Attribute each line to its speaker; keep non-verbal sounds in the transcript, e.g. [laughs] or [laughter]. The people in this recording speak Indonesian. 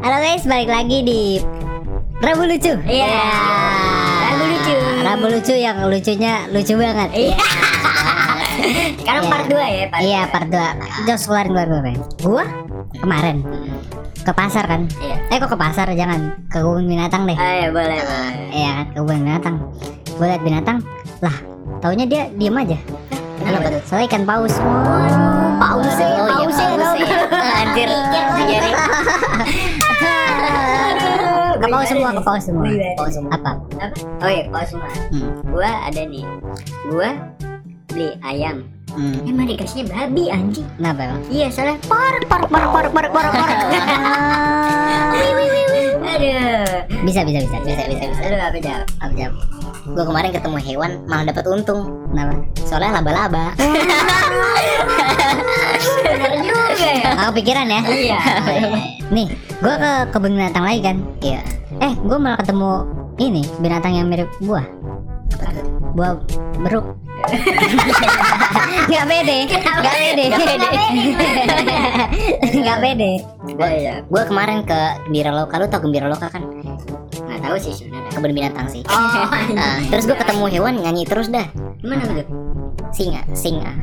Speaker 1: guys, balik lagi di Rabu Lucu. Ya,
Speaker 2: Iya. Rabu Lucu.
Speaker 1: Rabu Lucu yang lucunya lucu banget.
Speaker 2: Iya. Sekarang part 2 ya, part
Speaker 1: Iya,
Speaker 2: dua.
Speaker 1: part 2. Jos keluarin keluar gue. Gua kemarin ke pasar kan.
Speaker 2: Iya.
Speaker 1: Eh kok ke pasar jangan ke kebun binatang deh.
Speaker 2: Ah, iya, boleh, boleh.
Speaker 1: Iya kan ke kebun binatang. Gue liat binatang. Lah, taunya dia diem aja. Iya.
Speaker 2: Kenapa tuh? Oh,
Speaker 1: Soalnya ikan paus.
Speaker 2: Paus ya,
Speaker 1: Oh, iya,
Speaker 2: paus ya,
Speaker 1: paus
Speaker 2: paus ya. [laughs] Anjir, Iya jadi
Speaker 1: Ke paus semua, ke paus semua.
Speaker 2: Iya. Paus semua.
Speaker 1: Apa?
Speaker 2: apa? Oh iya, paus semua.
Speaker 1: Hmm.
Speaker 2: Gua ada nih. Gua beli ayam.
Speaker 1: Hmm.
Speaker 2: Emang dikasihnya babi anjing.
Speaker 1: Kenapa emang?
Speaker 2: Iya, soalnya park park park park park park park. [laughs] Wih, wih, wih, wih. Aduh.
Speaker 1: Bisa, bisa, bisa, bisa, bisa, bisa.
Speaker 2: Aduh, apa dah?
Speaker 1: Apa jawab? Gue kemarin ketemu hewan malah dapat untung. Kenapa? Soalnya laba-laba.
Speaker 2: Bener juga ya.
Speaker 1: [laughs] Aku pikiran ya. [laughs]
Speaker 2: Iya.
Speaker 1: Nih, gue ke kebun binatang lagi kan. Iya. Eh, gue malah ketemu ini binatang yang mirip buah. Buah beruk. [laughs] Gak pede, gak pede, [laughs] gak pede.
Speaker 2: Oh iya.
Speaker 1: Gue kemarin ke Gembira Loka, lu tau Gembira Loka kan?
Speaker 2: Nggak tahu sih sebenarnya.
Speaker 1: Kebun binatang [laughs] sih.
Speaker 2: Oh,
Speaker 1: Nah, terus gue ketemu hewan nyanyi terus dah.
Speaker 2: Gimana tuh?
Speaker 1: Singa, singa.